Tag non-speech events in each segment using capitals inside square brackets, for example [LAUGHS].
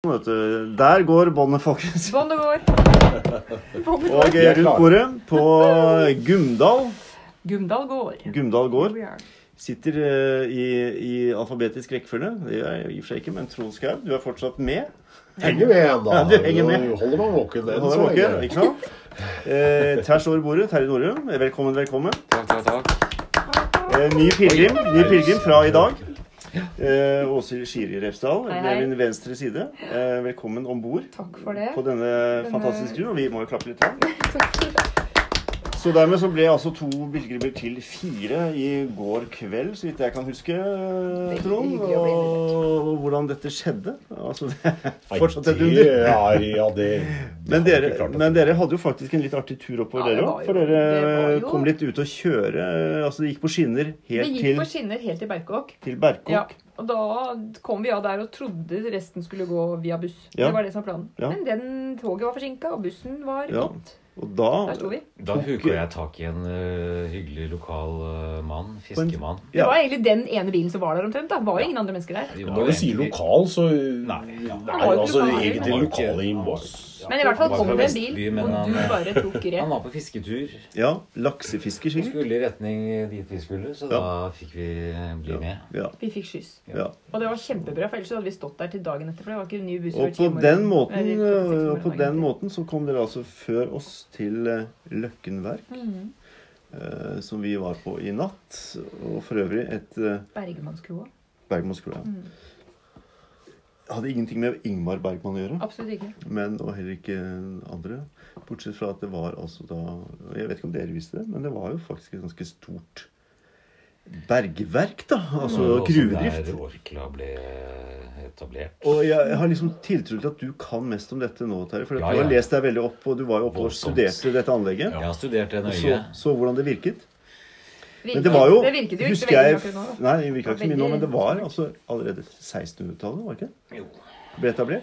podkasten, vet du. Der går båndet, folkens. [LAUGHS] Båndet går. Båndet Og går. eh, rundt bordet på Gumdal Gumdal går. Gumdal gård We are. sitter eh, i, i alfabetisk rekkefølge. Det gjør jeg i og for seg ikke, men Trond Skau, du er fortsatt med. Henger med igjen, da. Ja, du henger med. Du Holder meg våken. enn Holder så dere lenge. våken, ikke sant? Eh, tvers over bordet, Terje Norum. Velkommen, velkommen. Takk, takk, takk. Eh, ny pilegrim ny pilegrim fra i dag. Eh, Åshild Skiri Refsdal Hei, ved hei. min venstre side. Eh, velkommen om bord Takk for det. på denne fantastiske turen. Og vi må jo klappe litt [LAUGHS] av. Så dermed så ble altså to pilegrimer til fire i går kveld, så vidt jeg kan huske, eh, Veldig Trond. hyggelig å bli Og hvordan dette skjedde. Altså, det er Nei, fortsatt et det under. er- Ja, det Men det hadde dere, ikke klart det. men dere hadde jo faktisk en litt artig tur oppover, Ja, det dere var òg. For jo- det dere var jo- kom litt ut å kjøre. Altså, det gikk på skinner Det helt gikk til, på skinner helt til Berkåk. til Ja, Berkåk. og da kom vi av der og trodde resten skulle gå via buss. Ja. Det var det som var planen. Ja. Men den toget var forsinka, og bussen var Ja. gått. Og Der sto da vi. Da huka jeg tak i en ø, hyggelig lokal ø, mann. Fiskemann. Det var ja, egentlig den ene bilen som var der omtrent. da. Det var jo ingen andre mennesker der. Vi var Når du sier egentlig- lokal, så Nei, ja. Det er Han var jo jo altså lokal. egentlig Han var ikke- lokale i han var- Moss. Men i hvert fall Han var kom fra det en Vestby, bil, men og han, du bare tok Han grep. var på fisketur. ja, laksefisker, Vi sikkert. skulle i retning dit vi skulle, så da fikk vi bli med. Ja, Vi fikk skyss. ja. Og det var kjempebra, for ellers hadde vi stått der til dagen etter. For det var ikke en ny buss før Og ti på om den morgenen. måten, Eller seks om øh, og på morgenen, den egentlig. måten så kom dere altså før oss til eh, Løkken verk. Mm. eh, Som vi var på i natt. Og for øvrig et eh, Bergmannskroa. Bergmanskroa. Hadde ingenting med Ingmar Bergman å gjøre. Absolutt ikke. Men og heller ikke andre. Bortsett fra at det var altså da og Jeg vet ikke om dere visste det, men det var jo faktisk et ganske stort bergverk, da. Altså Og Mm. også gruvedrift. Der Orkla ble etablert. Og jeg har liksom tiltro til at du kan mest om dette nå, Terje. For Ja, du har ja. lest deg veldig opp, og du var jo oppe og Voldsomt. studerte dette anlegget. Jeg har studert det Og så, nøye. så hvordan det virket. Men Virket- det var jo det virket jo ikke så husker veldig jeg, akkurat nå. da. Nei, det virka ikke så mye nå, Veldig men det var smart. altså allerede 1600-tallet, var det ikke? Jo. ble etablert.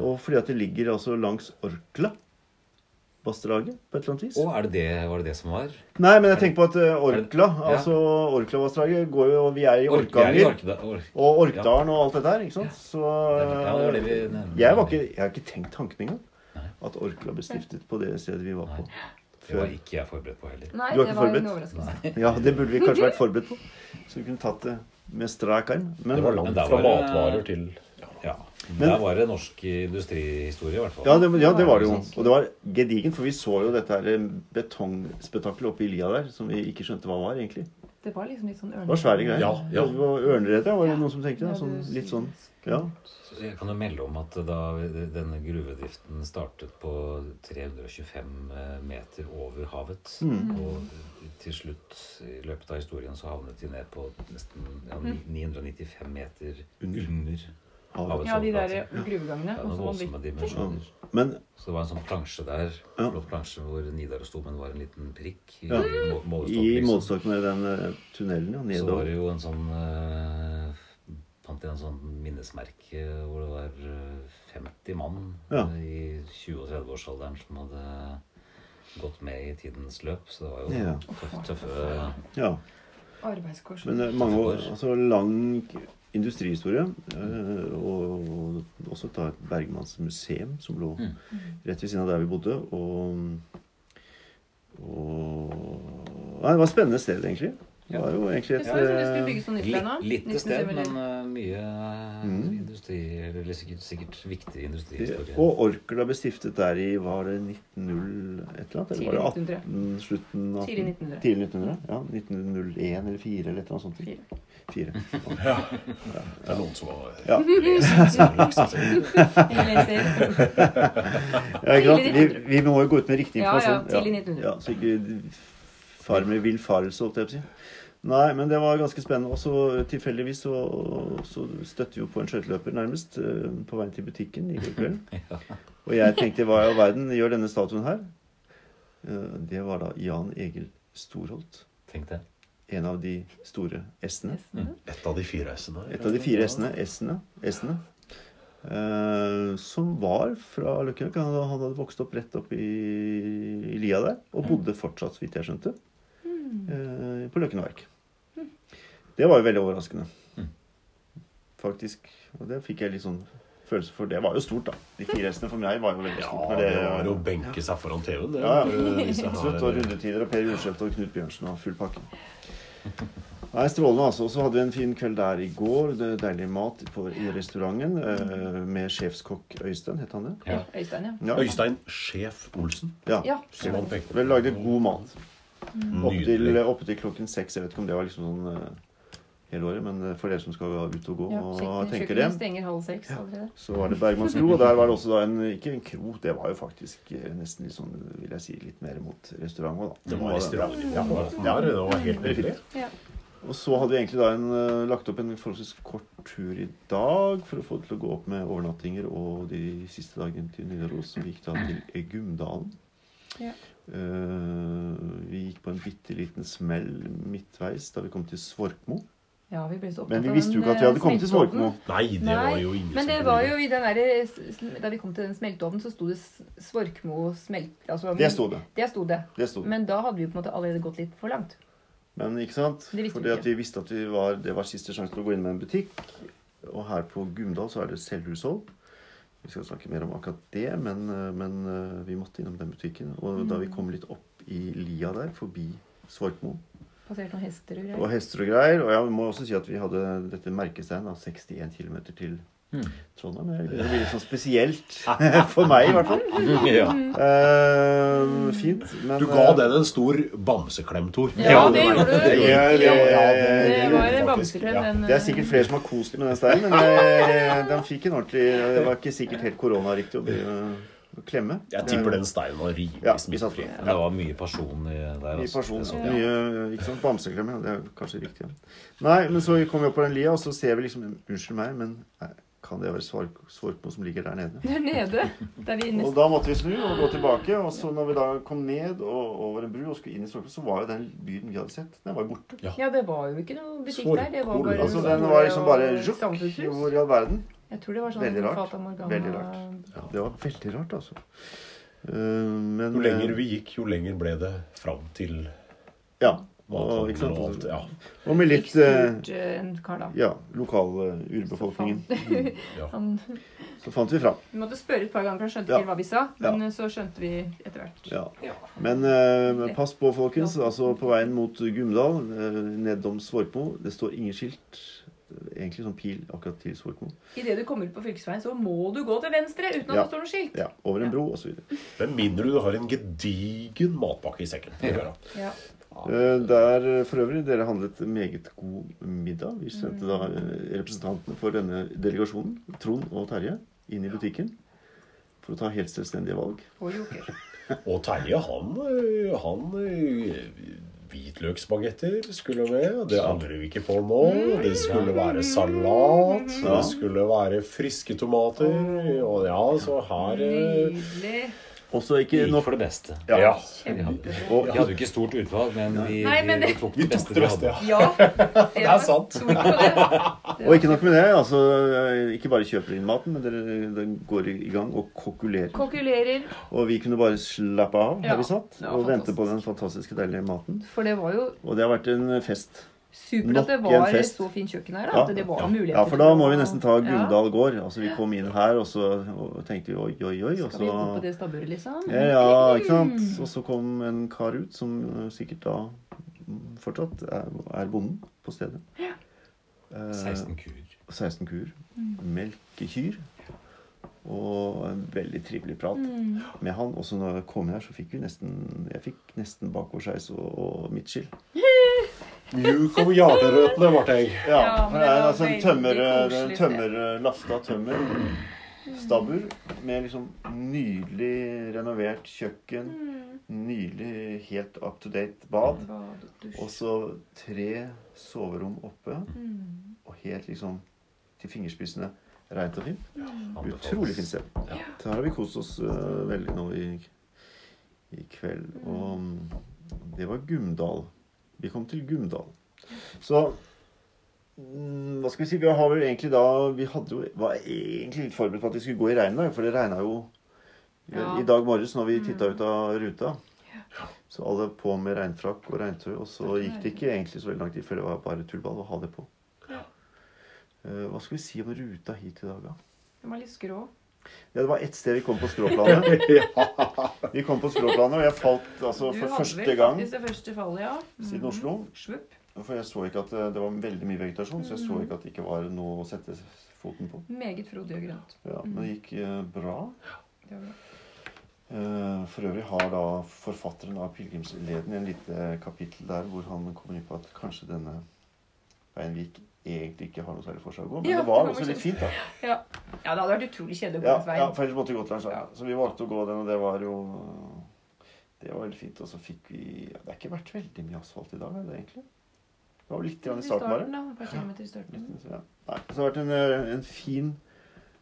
Og fordi at det ligger altså langs Orkla-vassdraget på et eller annet vis. Og er det det, var det det som var? Nei, men jeg tenker på at eh, Orkla, Ja. altså Orklavassdraget, går jo Vi er i Ork- er det i Orkanger Orkda- Ork- og Orkdalen og alt det der, ikke sant? Så Ja, det var det vi nevnte. jeg, var ikke, jeg har ikke tenkt tanken engang. At Orkla ble stiftet på det stedet vi var på. Det var ikke jeg forberedt på heller. Nei, Du var det ikke var en forberedt? overraskelse. Ja, det burde vi kanskje vært forberedt på. Så vi kunne tatt det med strak arm. Men Det var Men langt der fra var det- matvarer til Ja. Der var det norsk industrihistorie, i hvert fall. ja det, ja, det var det jo. Og det var gedigent, for vi så jo dette her eh, betongspetakkelet oppe i lia der, som vi ikke skjønte hva var, egentlig. Det var liksom litt sånn ørne... Det var svære greier. Ja, ja. Det var Ørneredet, var det noen som tenkte? Da? Ja, Sånn, det- litt sånn Ja. Jeg kan jo melde om at da denne gruvedriften startet på 325 eh, meter over havet, Mm. og til slutt i løpet av historien så havnet de ned på nesten ja, ni- 995 meter under, havets Ja, de der overflate. gruvegangene. Det er og så noen var det- voldsomme dimensjoner. Men Så det var en sånn plansje der, Ja. flott plansje hvor Nidarosdomen var en liten prikk i, Ja. I må- målestokken, liksom. målestokken i den eh, tunnelen, ja. Så Nedover. var det jo en sånn eh, Fant jeg en sånn minnesmerke hvor det var eh, 50 mann Ja. eh, i 20- og 30-årsalderen som hadde gått med i tidens løp. Så det var jo Ja. tøff, tøffe Ja. Arbeidskors. Men eh, mange år Altså lang industrihistorie. eh, Og og også ta et Bergmannsmuseum som lå Mm. rett ved siden av der vi bodde. Og, og Nei, det var et spennende sted, egentlig. Det var jo egentlig Jeg et så jo som du skulle eh, bygge sånn nytt der nå. Litt, lite 1907 sted, men eller- eh, mye eh, industri Eller sikkert, sikkert viktig industrihistorie. eh, og Orkla ble stiftet der i var det 1900 et eller annet? Eller var det Tidlig 18, slutten eh, av Tidlig 1900. Tidlig 1900? Ja, 1901 eller 4 eller et eller annet sånt. Fire. Det er noen som har Ja. Eller leser. Ja, ikke sant? Tidlig Vi, vi må jo gå ut med riktig Ja, ja, informasjon. tidlig 1900. Ja, så ikke far med villfarelse, holdt jeg på å si. Nei, men det var ganske spennende. Og så tilfeldigvis så, så støtte vi jo på en skøyteløper, nærmest, eh, på veien til butikken i går kveld. Og jeg tenkte hva i all verden gjør denne statuen her? Eh, Det var da Jan Egil Storholt. Tenk det. En av de store S-ene. et av de fire S-ene. Et av de fire S-ene. S-ene. S-ene. Eh, som var fra Løkkenøk. Han, han hadde vokst opp rett opp i, i lia der. Og bodde fortsatt, så vidt jeg skjønte, eh, på Løkken verk. Mm. Det var jo veldig overraskende. Faktisk. Og det fikk jeg litt sånn følelse for det var jo stort, da. De fire hestene for meg var jo veldig Ja, stort. når det var å det, benke seg foran TV-en, det. Ja, ja. eh, disse her- Absolutt. Og rundetider og Per Julseth og Knut Bjørnsen og full pakke. Nei, Strålende, altså. Så hadde vi en fin kveld der i går. Det er Deilig mat på, i restauranten eh, med sjefskokk Øystein, het han det? [LAUGHS] Ja. Øystein, ja. Ja. Øystein Sjef Olsen. Ja. Ja. Som han pekte på. Vel lagde god mat. Opp til, eh, Nydelig. opp til klokken seks. Jeg vet ikke om det var liksom sånn eh, hele året, men eh, for dere som skal ut og gå ja. og Kjøkken, tenker det, kjøkkenet stenger halv seks allerede. så var det Bergmanns kro. Og der var det også da en Ikke en kro, det var jo faktisk eh, nesten litt sånn, vil jeg si, litt mer mot restaurant òg, da. Det var restaurant. Ja. Ja, det var helt nydelig. Ja. Og så hadde vi egentlig da en, eh, lagt opp en forholdsvis kort tur i dag for å få det til å gå opp med overnattinger og de siste dagene til Nidaros. Vi gikk da til Gumdalen. Ja. Eh, vi gikk på en bitte liten smell midtveis da vi kom til Svorkmo. ja, vi ble så opptatt Men vi av visste jo den, ikke at vi hadde eh, kommet til smelteovnen. Svorkmo. Nei, det var jo ingen men som det kunne var gjøre jo i den der, Da vi kom til den smelteovnen, så sto det S- Svorkmo smelt... Altså, Det sto det. Det sto det. Det sto det. Men da hadde vi jo på en måte allerede gått litt for langt. Men ikke sant? Det visste vi Fordi at ikke. vi visste at vi var, det var siste sjanse til å gå inn med en butikk. Og her på Gumdal så er det selvhushold. Vi skal snakke mer om akkurat det, men, eh, men eh, vi måtte innom den butikken. Og Mm. da vi kom litt opp i lia der, forbi Svorkmo, Passert noen hester og og greier. hester og greier Og jeg må også si at vi hadde dette merkesteinen av 61 km til Mm. Trondheim. Det blir litt sånn spesielt [LAUGHS] for meg, i hvert fall. [LAUGHS] det. Ja. Eh, fint, men Du ga eh, den en stor bamseklem, Tor. Ja, det gjorde du. Det gjør vi. Ja, det Det var en gjorde faktisk, bamseklem. ja. den, Det er sikkert flere som har kost med den steinen, men eh, den fikk en ordentlig Det var ikke sikkert helt koronariktig å, bli, eh, å klemme. Jeg tipper den steinen var rivelig Ja, vi satt smittefri. Men det var mye pasjon i der. Mye altså. Eh, person, Det så- mye ikke sant, bamseklem. Ja, det er kanskje riktig. Ja. Nei, men så kommer vi opp på den lia, og så ser vi liksom Unnskyld meg, men eh, kan det være Svar- Svorkmo som ligger der nede? Der nede. Der vi Og nesten da måtte vi snu og gå tilbake. Og så når vi da kom ned og over en bru og skulle inn i Svorkmo, så var jo den byen vi hadde sett, den var borte. Ja, det var jo ikke noe butikk der. Det var Svorkmo, bare Altså den var liksom bare og Juk, samfunnshus. hvor i all verden? Jeg tror det var sånn Veldig rart. Fata Morgana Veldig rart. Det var veldig rart, altså. Eh, men eh, Jo lenger vi gikk, jo lenger ble det fram til Ja. Og, ikke mathandelen og sant? altså, alt. Ja. og med litt Litt eh, spurt eh, en kar, da. ja, lokal eh, urbefolkningen. Ja. Han, Så fant vi fram. vi måtte spørre et par ganger, for han skjønte Ja. ikke helt hva vi sa. Ja. Men eh, så skjønte vi etter hvert. Ja. Men eh, pass på, folkens. Altså på veien mot Gumdal, eh, nedom Svorkmo. Det står ingen skilt. eh, Egentlig sånn pil akkurat til Svorkmo. Idet du kommer ut på fylkesveien, så må du gå til venstre uten at Ja. det står noe skilt. Ja, over en bro osv. Men mindre du har en gedigen matpakke i sekken. Ja. Ja. Eh, Der eh, for øvrig dere handlet meget god middag. Vi sendte da eh, representantene for denne delegasjonen, Trond og Terje, inn i butikken for å ta helt selvstendige valg. På Joker. Og Terje, han, ø, han ø, Hvitløksbagetter skulle med. Det angrer vi ikke på nå. Det skulle være salat. Ja. Det skulle være friske tomater. Og ja, så her ø, Nydelig. Også ikke Vi nå gikk for det beste. eh, Ja. Vi hadde, Og- vi hadde jo ikke stort utvalg, men vi, Nei, men vi, det- tok Vi det tok beste det vi beste, hadde. ja. Ja. [LAUGHS] Det er sant. Stort på [LAUGHS] det. Og ikke nok med det. altså eh, Ikke bare kjøper dere inn maten, men dere den går i gang og kokulerer. Kokulerer. Og vi kunne bare slappe av her Ja, vi satt det var og vente fantastisk. på den fantastiske deilige maten. For det var jo Og det har vært en fest. supert at det Nok en var fest. så fint kjøkken her. Da, Ja. at det var muligheter. Ja, for da til å- må vi nesten ta Ja. Gumdal gård. Altså Vi kom inn her, og så og tenkte vi oi, oi, oi. Og Skal vi så opp på det stabburet, liksom? Ja, ja, ikke sant? Og så kom en kar ut som eh, sikkert da mm, fortsatt er, er bonden på stedet. Eh, 16 kuer. 16 kuer. Mm. Melkekyr. Og en veldig trivelig prat Mm. med han. Og så når jeg kom her, så fikk vi nesten Jeg fikk nesten bakoverskeis og, og midtskill. Mjuk om hjerterøttene, Marteng. Ja, Ja, for men det er det var altså en veldig tømmer, det er en koselig tømmer lafta tømmer. Stabbur med liksom nydelig renovert kjøkken. Mm. Nydelig helt up to date bad. Bad og dusj. Og så tre soverom oppe. Mm. Og helt liksom til fingerspissene rent og fint. Anbefales. Utrolig fint sted. Så her har vi kost oss øh, veldig nå i, i kveld. Og mm, det var Gumdal. Vi kom til Gumdal. Så mm, hva skal vi si? Vi har vel egentlig da Vi hadde jo, var egentlig litt forberedt på at vi skulle gå i regnet, for det regna jo Ja. i dag morges når vi titta ut av ruta. Så alle på med regnfrakk og regntøy. Og så gikk det ikke egentlig så veldig lang tid før det var bare tullball å ha det på. Eh, Hva skal vi si om ruta hit i dag, da? Den var litt skrå. Ja, det var ett sted vi kom på skråplanet. Ja. Vi kom på skråplanet, og jeg falt altså Du for hadde første vel gang faktisk Mm. det første fallet, ja. siden Oslo. Svupp. For jeg så ikke at eh, det var veldig mye vegetasjon, så jeg Mm. så ikke at det ikke var noe å sette foten på. Meget frodig og grønt. Ja, men Mm. det gikk eh, bra. Det var bra. Eh, For øvrig har da forfatteren av 'Pilegrimsleden' en lite eh, kapittel der hvor han kommer inn på at kanskje denne veien vi gikk, egentlig ikke har noe særlig for seg å gå. Men Ja, det var det var også litt fint, da. Ja. ja, det hadde vært utrolig kjedelig å gå Ja, langs ja veien. for ellers måtte vi gått langs Ja. veien. Så vi valgte å gå den, og det var jo Det var veldig fint. Og så fikk vi ja, Det har ikke vært veldig mye asfalt i dag, er det egentlig? Det var litt grann i starten, Mm. bare. da. Et par kilometer i starten. Litt, ja. Nei, så det har vært en, eh, en fin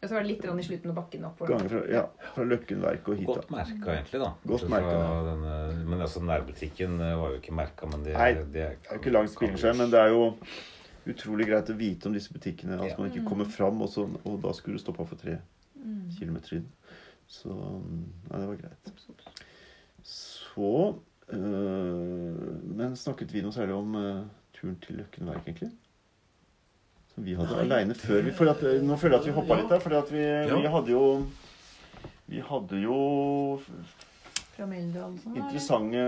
Og så var det litt grann i slutten av bakken oppover. gange fra, ja, fra Løkken verk og hit. Godt Da. merka, egentlig, da. Godt Bortsett merka, fra ja. denne- Men altså, nærbutikken eh, var jo ikke merka, men det, Nei, det Det er jo ikke langt spilleskjerm, men det er jo utrolig greit å vite om disse butikkene. At Ja. man ikke kommer fram, og, så, og da skulle du stoppa for tre Mm. kilometer inn. Så Nei, det var greit. Ops, ops. Så øh, Men snakket vi noe særlig om øh, turen til Løkken verk, egentlig? Som vi hadde aleine før vi For at, øh, nå føler jeg at vi hoppa Ja. litt der. For at vi, vi hadde jo Vi hadde jo Fra Meldal og sånn. eller? interessante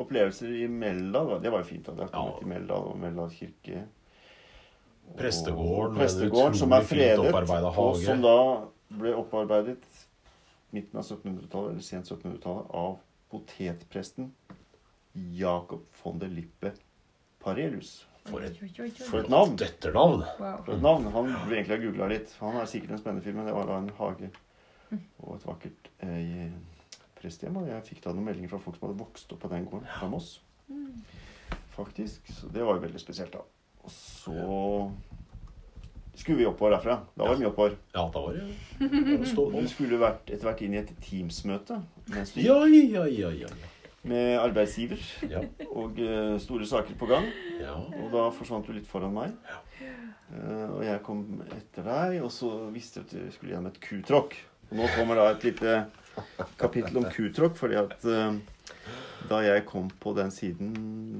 opplevelser i Meldal. da. Det var jo fint at jeg kom Ja. ut i Meldal og Meldal kirke. Og Prestegården, Prestegården som er fredet, og hage. som da ble opparbeidet midten av 1700-tallet, eller sent 1700-tallet, av potetpresten Jacob von der Lippe Parelius. For et- Oi, oi, oi, oi. For et navn! Etternavn. Wow. For et navn. Han burde egentlig ha googla litt. Han er sikkert en spennende film, men det var da en hage og et vakkert eh, prestehjem. Og jeg fikk da noen meldinger fra folk som hadde vokst opp på den gården fra Moss. Faktisk. Så det var jo veldig spesielt, da. Og så skulle vi oppover derfra. Da var det mye oppover. Ja, da var det [LAUGHS] jo stå Og på. du skulle vært, etter hvert inn i et Teams-møte mens du- Ja, ja, ja, ja. med arbeidsgiver Ja, og eh, store saker på gang. ja. Og da forsvant du litt foran meg. Eh, og jeg kom etter deg, og så visste jeg at jeg skulle gjennom et kutråkk. Og nå kommer da et lite kapittel om kutråkk, fordi at eh, da jeg kom på den siden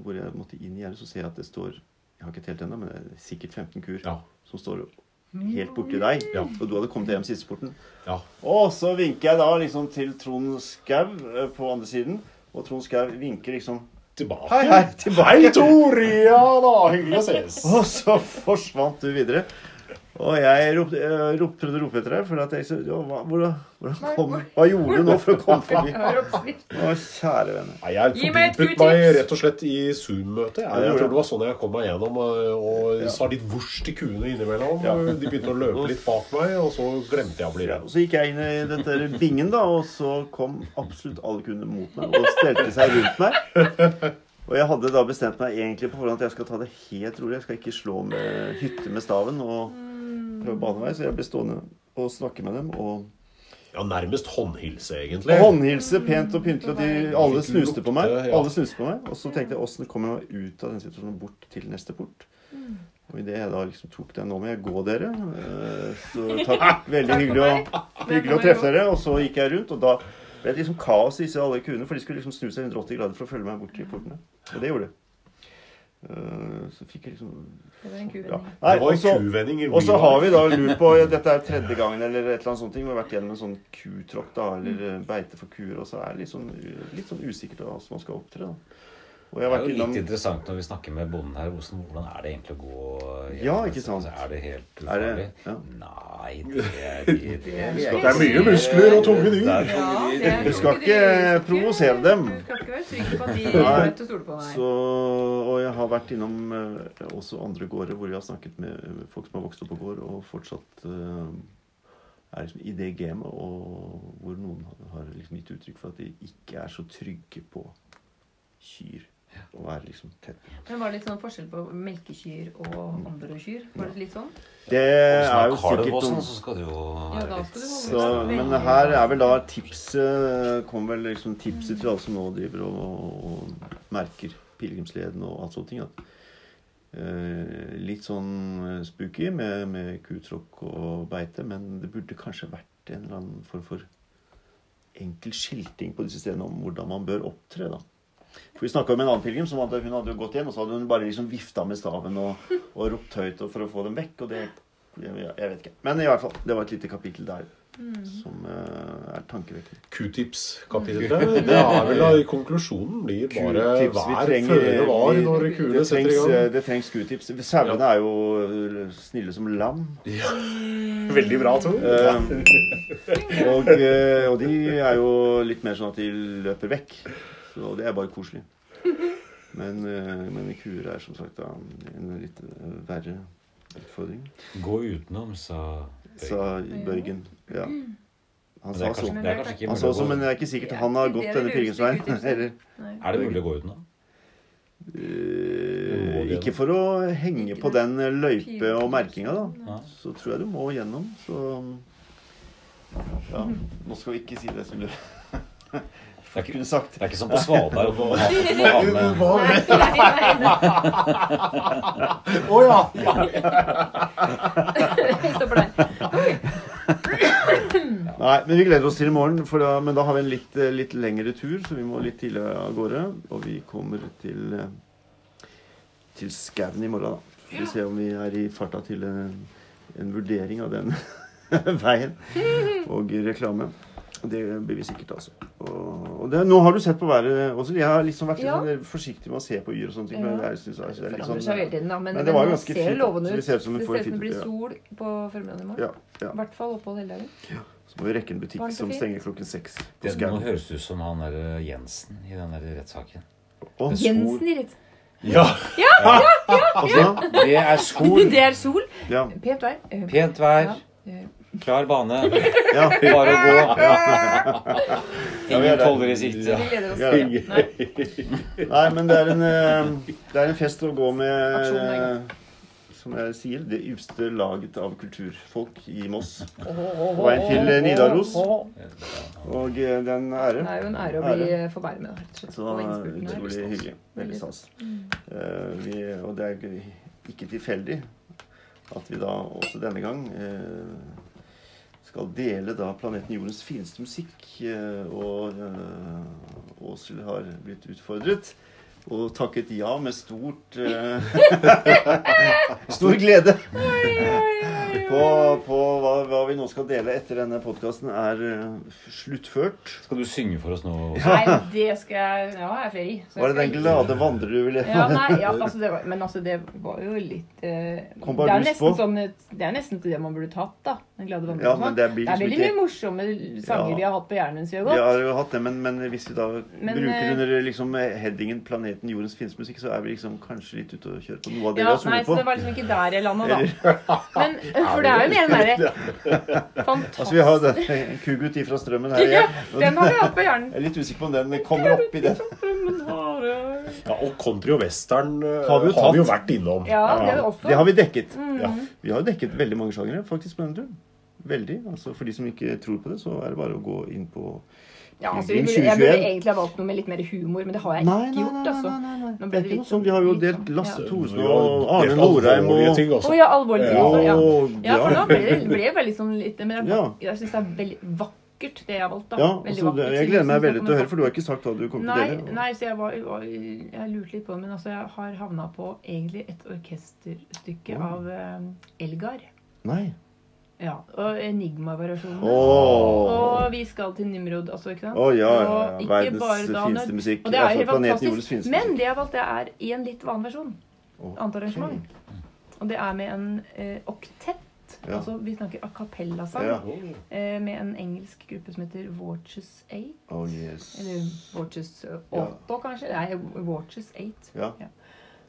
hvor jeg måtte inn i gjerdet, så ser jeg at det står Jeg har ikke telt ennå, men det er sikkert 15 kur Ja. som står helt borti deg. Ja. Og du hadde kommet hjem siste porten. ja. Og så vinker jeg da liksom til Trond Skau eh, på andre siden, og Trond Skau vinker liksom Tilbake. Hei, hei, tilbake. Hei, Tor! Ja da, hyggelig å ses. [LAUGHS] Og så forsvant du videre. Og jeg ropte, jeg rop- prøvde å rope etter deg, for at jeg så ja, hva, hvordan, hvordan kom, Hva gjorde du nå for å komme [LAUGHS] forbi? Jeg har oppskrift. Å, kjære venne. Nei, jeg Gi meg et fordypet gudtips. meg rett og slett i Zoom-møtet. Jeg, Ja, jeg det gjorde tror det var sånn jeg kom meg gjennom eh, og sa litt vurs til kuene innimellom. Ja. De begynte å løpe litt bak meg, og så glemte jeg å bli Ja, redd. og så gikk jeg inn i dette her bingen, da, og så kom absolutt alle kundene mot meg og stelte seg rundt meg. Og jeg hadde da bestemt meg egentlig på forhånd at jeg skal ta det helt rolig. Jeg skal ikke slå med hytte med staven og prøve banevei, så jeg ble stående og snakke med dem. og... Ja, nærmest håndhilse, egentlig. Og håndhilse pent og pyntelig, og de, alle Fikk snuste på meg. lukte, ja. Alle snuste på meg. Og så tenkte jeg åssen kommer jeg meg ut av den situasjonen og bort til neste port? Mm. Og idet jeg da liksom tok den Nå må jeg gå, dere. Eh, [LAUGHS] Så takk. Veldig Takk for hyggelig meg. å, hyggelig å treffe dere. Og så gikk jeg rundt, og da ble det liksom kaos i disse alle kuene, for de skulle liksom snu seg 180 grader for å følge meg bort til portene. Og det gjorde de. Eh, Så fikk jeg liksom Det var en kul ja. vending. Nei, det var og så- en kuvending. i og så Wien. har vi da lurt på Dette er tredje gangen eller et eller annet sånt. ting, Vi har vært gjennom en sånn kutråkk, da, eller eh, beite for kuer. Og så er det litt sånn, litt sånn usikkert da, hvordan man skal opptre. da. Og jeg Det har er vært jo innom litt interessant når vi snakker med bonden her. Hvordan, hvordan er det egentlig å gå gjennom Ja, ikke dette? sant. Altså, Er det helt Er det- ufarlig? ja. Nei, det, [LAUGHS] det, det, Det er mye muskler og tunge dyr. Det er Ja, tunge dyr. det er Du skal jo ikke eh, de- provosere dem. Du skal ikke være trygg på at de Nei. vet å stole på deg. så, Og jeg har vært innom eh, også andre gårder hvor vi har snakket med eh, folk som har vokst opp på gård, og fortsatt eh, er liksom i det gamet, og hvor noen har liksom gitt uttrykk for at de ikke er så trygge på kyr. Å være liksom tett på. Men var det litt sånn forskjell på melkekyr og andre kyr? Var det litt sånn? Det Hvis er man har jo kalv sikkert og sånn, noen så skal det jo Ja, være da litt skal du holde Så, men her er vel da tipset Kommer vel liksom tipset til alle som nå driver og, og, og merker pilegrimsleden og alt sånne ting. At, eh, litt sånn eh, spooky med, med kutråkk og beite, men det burde kanskje vært en eller annen form for enkel skilting på disse stedene om hvordan man bør opptre. da. For Vi snakka med en annen pilegrim som hadde, hun hadde jo gått hjem, og så hadde hun bare liksom vifta med staven og, og ropt høyt og for å få dem vekk. og det Jeg, jeg jeg vet ikke. Men i hvert fall, det var et lite kapittel der som eh, er tankevekkende. [LAUGHS] Q-tips-kapitlet. Det er vel da konklusjonen blir bare Q-tips, vi vær trenger- føre var vi- når kuene det setter i trengs, eh, gang. Det trengs q-tips. Sauene er jo eh, snille som lam. Ja. Veldig bra, Tor. Eh, og, eh, og de er jo litt mer sånn at de løper vekk. Så det er bare koselig. Men, eh, men kuer er som sagt da en litt eh, verre utfordring. Gå utenom, sa Bøy. Sa Børgen. Ja. Han Men Det sa er så. kanskje, det er kanskje ikke Han sa mulig så, å men gå det er ikke sikkert han har gått denne pilegrimsveien. [LAUGHS] Eller Nei. Er det mulig å gå utenom? eh, Ikke for å henge på den løype og merkinga, da. Nei. Så tror jeg du må gjennom, så Ja. Nå skal vi ikke si det som du Det er ikke, kunne sagt. det er ikke som på [LAUGHS] Svalbard. hvor man har- må ha med- Nei, Hva var det? Å ja. ja! Stopper der. Nei, men vi gleder oss til i morgen, for da, men da har vi en litt, eh, litt lengre tur, så vi må litt tidlig av gårde. Og vi kommer til, eh, til skauen i morgen, da. Så får vi se om vi er i farta til en, en vurdering av den [LAUGHS] veien. Og reklame. Det blir vi sikkert, altså. Og, og det, nå har du sett på været også. Jeg har liksom vært litt Ja. sånn forsiktig med å se på yr og sånne ting. Ja. for jeg synes det er Det litt forandrer sånn- seg hele tiden, da. Men, Men det men var nå ganske ser fint, det lovende så det ut. ser ut som vi får ut som det fint blir ut, sol på formiddagen i morgen. ja, ja. I hvert fall opphold hele dagen. Så må vi rekke en butikk Varmt og som fint. stenger klokken seks på Det nå skauen. høres det ut som han der eh, Jensen i den der rettssaken. Å, Det er sol. Jensen i rett... ja. Og så- Det er sol, [LAUGHS] Det er sol! Ja. Pent vær. Eh, pent vær, eh, klar bane, ja. [LAUGHS] bare å gå. Ingen toller i sikte. Vi gleder oss. Ja, ja. Ja. Nei. Nei, men det er en, eh, det er en fest å gå med Aksjon, ja. eh, Som jeg sier, det ypste laget av kulturfolk i Moss. På veien til, eh, Nidaros. Og eh, det er en ære. Det er jo en ære å bli forbæret med. rett og slett, Så eh, og innspurten her. utrolig hyggelig. Veldig stas. Mm. Eh, vi- Og det er jo ikke tilfeldig at vi da også denne gang eh, skal dele da planeten Jordens fineste musikk. eh, Og eh, Åshild har blitt utfordret. Og takket ja med stort eh, [LAUGHS] Stor glede. På, på hva, hva vi nå skal dele etter denne podkasten, er eh, sluttført. Skal du synge for oss nå? Nei, det skal jeg Ja, jeg er fri. så jeg Var det skal den glade vandrer du ville Ja, nei, ja, altså det var, men altså det var jo litt eh, Kom det, bare er lyst nesten på. som et, det er nesten til det man burde tatt, da. Den glade vandringen. sånn. Ja, men det blir det er liksom veldig mye ikke morsomme sanger Ja. vi har hatt på hjernen mens vi har Vi gått. har jo hatt det, men, men hvis vi da Men, bruker eh, under liksom headingen 'Planeten jordens fineste musikk', så er vi liksom kanskje litt ute og kjører på noe av det vi Ja, har nei, sunget så på. det var liksom ikke der jeg landa, [LAUGHS] da. Men, for det er jo mer [LAUGHS] den derre Altså, vi Fantastisk. har jo den- [LAUGHS] en kugutt ifra [LAUGHS] strømmen her igjen. Den har vi hatt på hjernen. [LAUGHS] Jeg er litt usikker på om den kommer opp i den. ja. Og country og western eh, Har har vi jo vi, tatt. jo vært innom. Ja, det er Det også. har vi dekket. Mm. Ja. Vi har jo dekket veldig mange sjangere faktisk på denne turen. Veldig. altså For de som ikke tror på det, så er det bare å gå inn på Ja, altså, vi Pilgrim burde, jeg burde 2021. egentlig ha valgt noe med litt mer humor, men det har jeg Nei, ikke nei, gjort, nei, altså. nei, nei, nei. Nå Det er ble det ikke litt noe sånn. Vi har jo sånn, delt ja. Lasse Thorsen Vi har og Arne delt Norheim alvorlige og ting også. Å ja, alvorlig. Altså, ja. Og Ja, for da ja. ble det, ble det veldig sånn litt Men jeg, Ja. jeg syns det er veldig vakkert, det jeg har valgt. da. Ja, Veldig altså, vakkert, det- jeg så gleder meg synes jeg veldig til å høre, for du kommer- har ikke sagt hva du kommer til å dele. Nei, nei, så jeg var, var Jeg lurte litt på det, men altså, jeg har havna på egentlig et orkesterstykke Oi. av eh, Elgar. Nei. Ja, Og Enigma-variasjonen. Åh. Og vi skal til Nimrod også, ikke sant? Å ja, ja, ja. Og ikke Verdens bare da, fineste når- musikk. Og det er jo Altså, helt planeten jordens fantastisk. fineste Men det jeg valgte, er i en litt annen versjon. Ok. Annet arrangement. Og det er med en eh, oktett. Ja. Altså, vi snakker a cappella-sang. Ja. eh, med en engelsk gruppe som heter Watches 8. Oh, yes. Eller Watches 8, kanskje? Nei, Watches 8. Ja.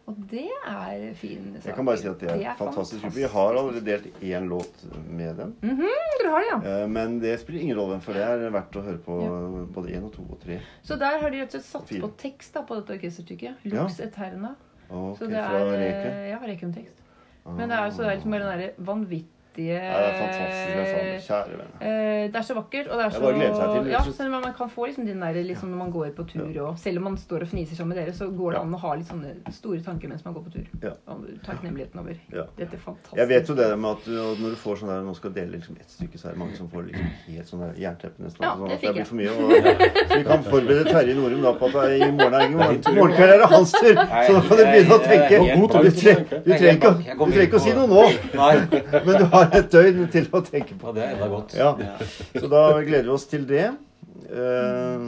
Og det er fin sak. Jeg kan bare si at det er fantastisk. Vi har allerede delt én låt med dem. Mm. Dere har det, ja. Eh, Men det spiller ingen rolle, for det er verdt å høre på eh, både én og to og tre. Så der har de rett og slett satt Fint. på tekst da, på dette orkesterstykket. Ja. Lux Eterna. Ok, Så det er, fra Reke. eh, Ja, Rekum-tekst. Men det er, så det er liksom bare den derre vanvittige Ja, det er fantastisk. Det er sånn, kjære venn. Eh, det er så vakkert. Og det er Det er så, bare å glede seg til, rett ja, og slett. selv om man kan få liksom den der liksom, når man går på tur og Selv om man står og fniser sammen med dere, så går det an å ha litt sånne store tanker mens man går på tur. Ja. Og takknemligheten over Ja. dette fantastiske Jeg vet jo det med at du, når du får sånn der Nå skal dele liksom ett stykke, så er det mange som får liksom helt sånn der jernteppe nesten. Ja, altså, sånn at det det fikk blir for mye. Og, så vi kan forberede Terje Norum da på at det er i morgen er i morgen morgenkveld er det hans tur! Så nå kan du begynne å Jeg er tenke. helt Du blank. trenger, du trenger, ikke, å- du trenger ikke å si noe nå, Nei. men du har har et døgn til å tenke på. Ja, det er enda godt. Ja. Så da gleder vi oss til det. Eh,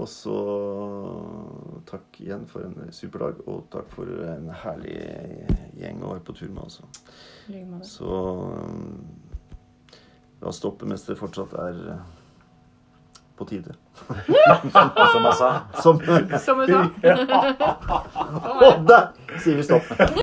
og så takk igjen for en super dag, og takk for en herlig gjeng å være på tur med. altså. Også. Ligger med det. Så eh, la oss stoppe mens det fortsatt er eh, på tide. Som jeg sa. Som Som hun sa. Og der sier vi stopp.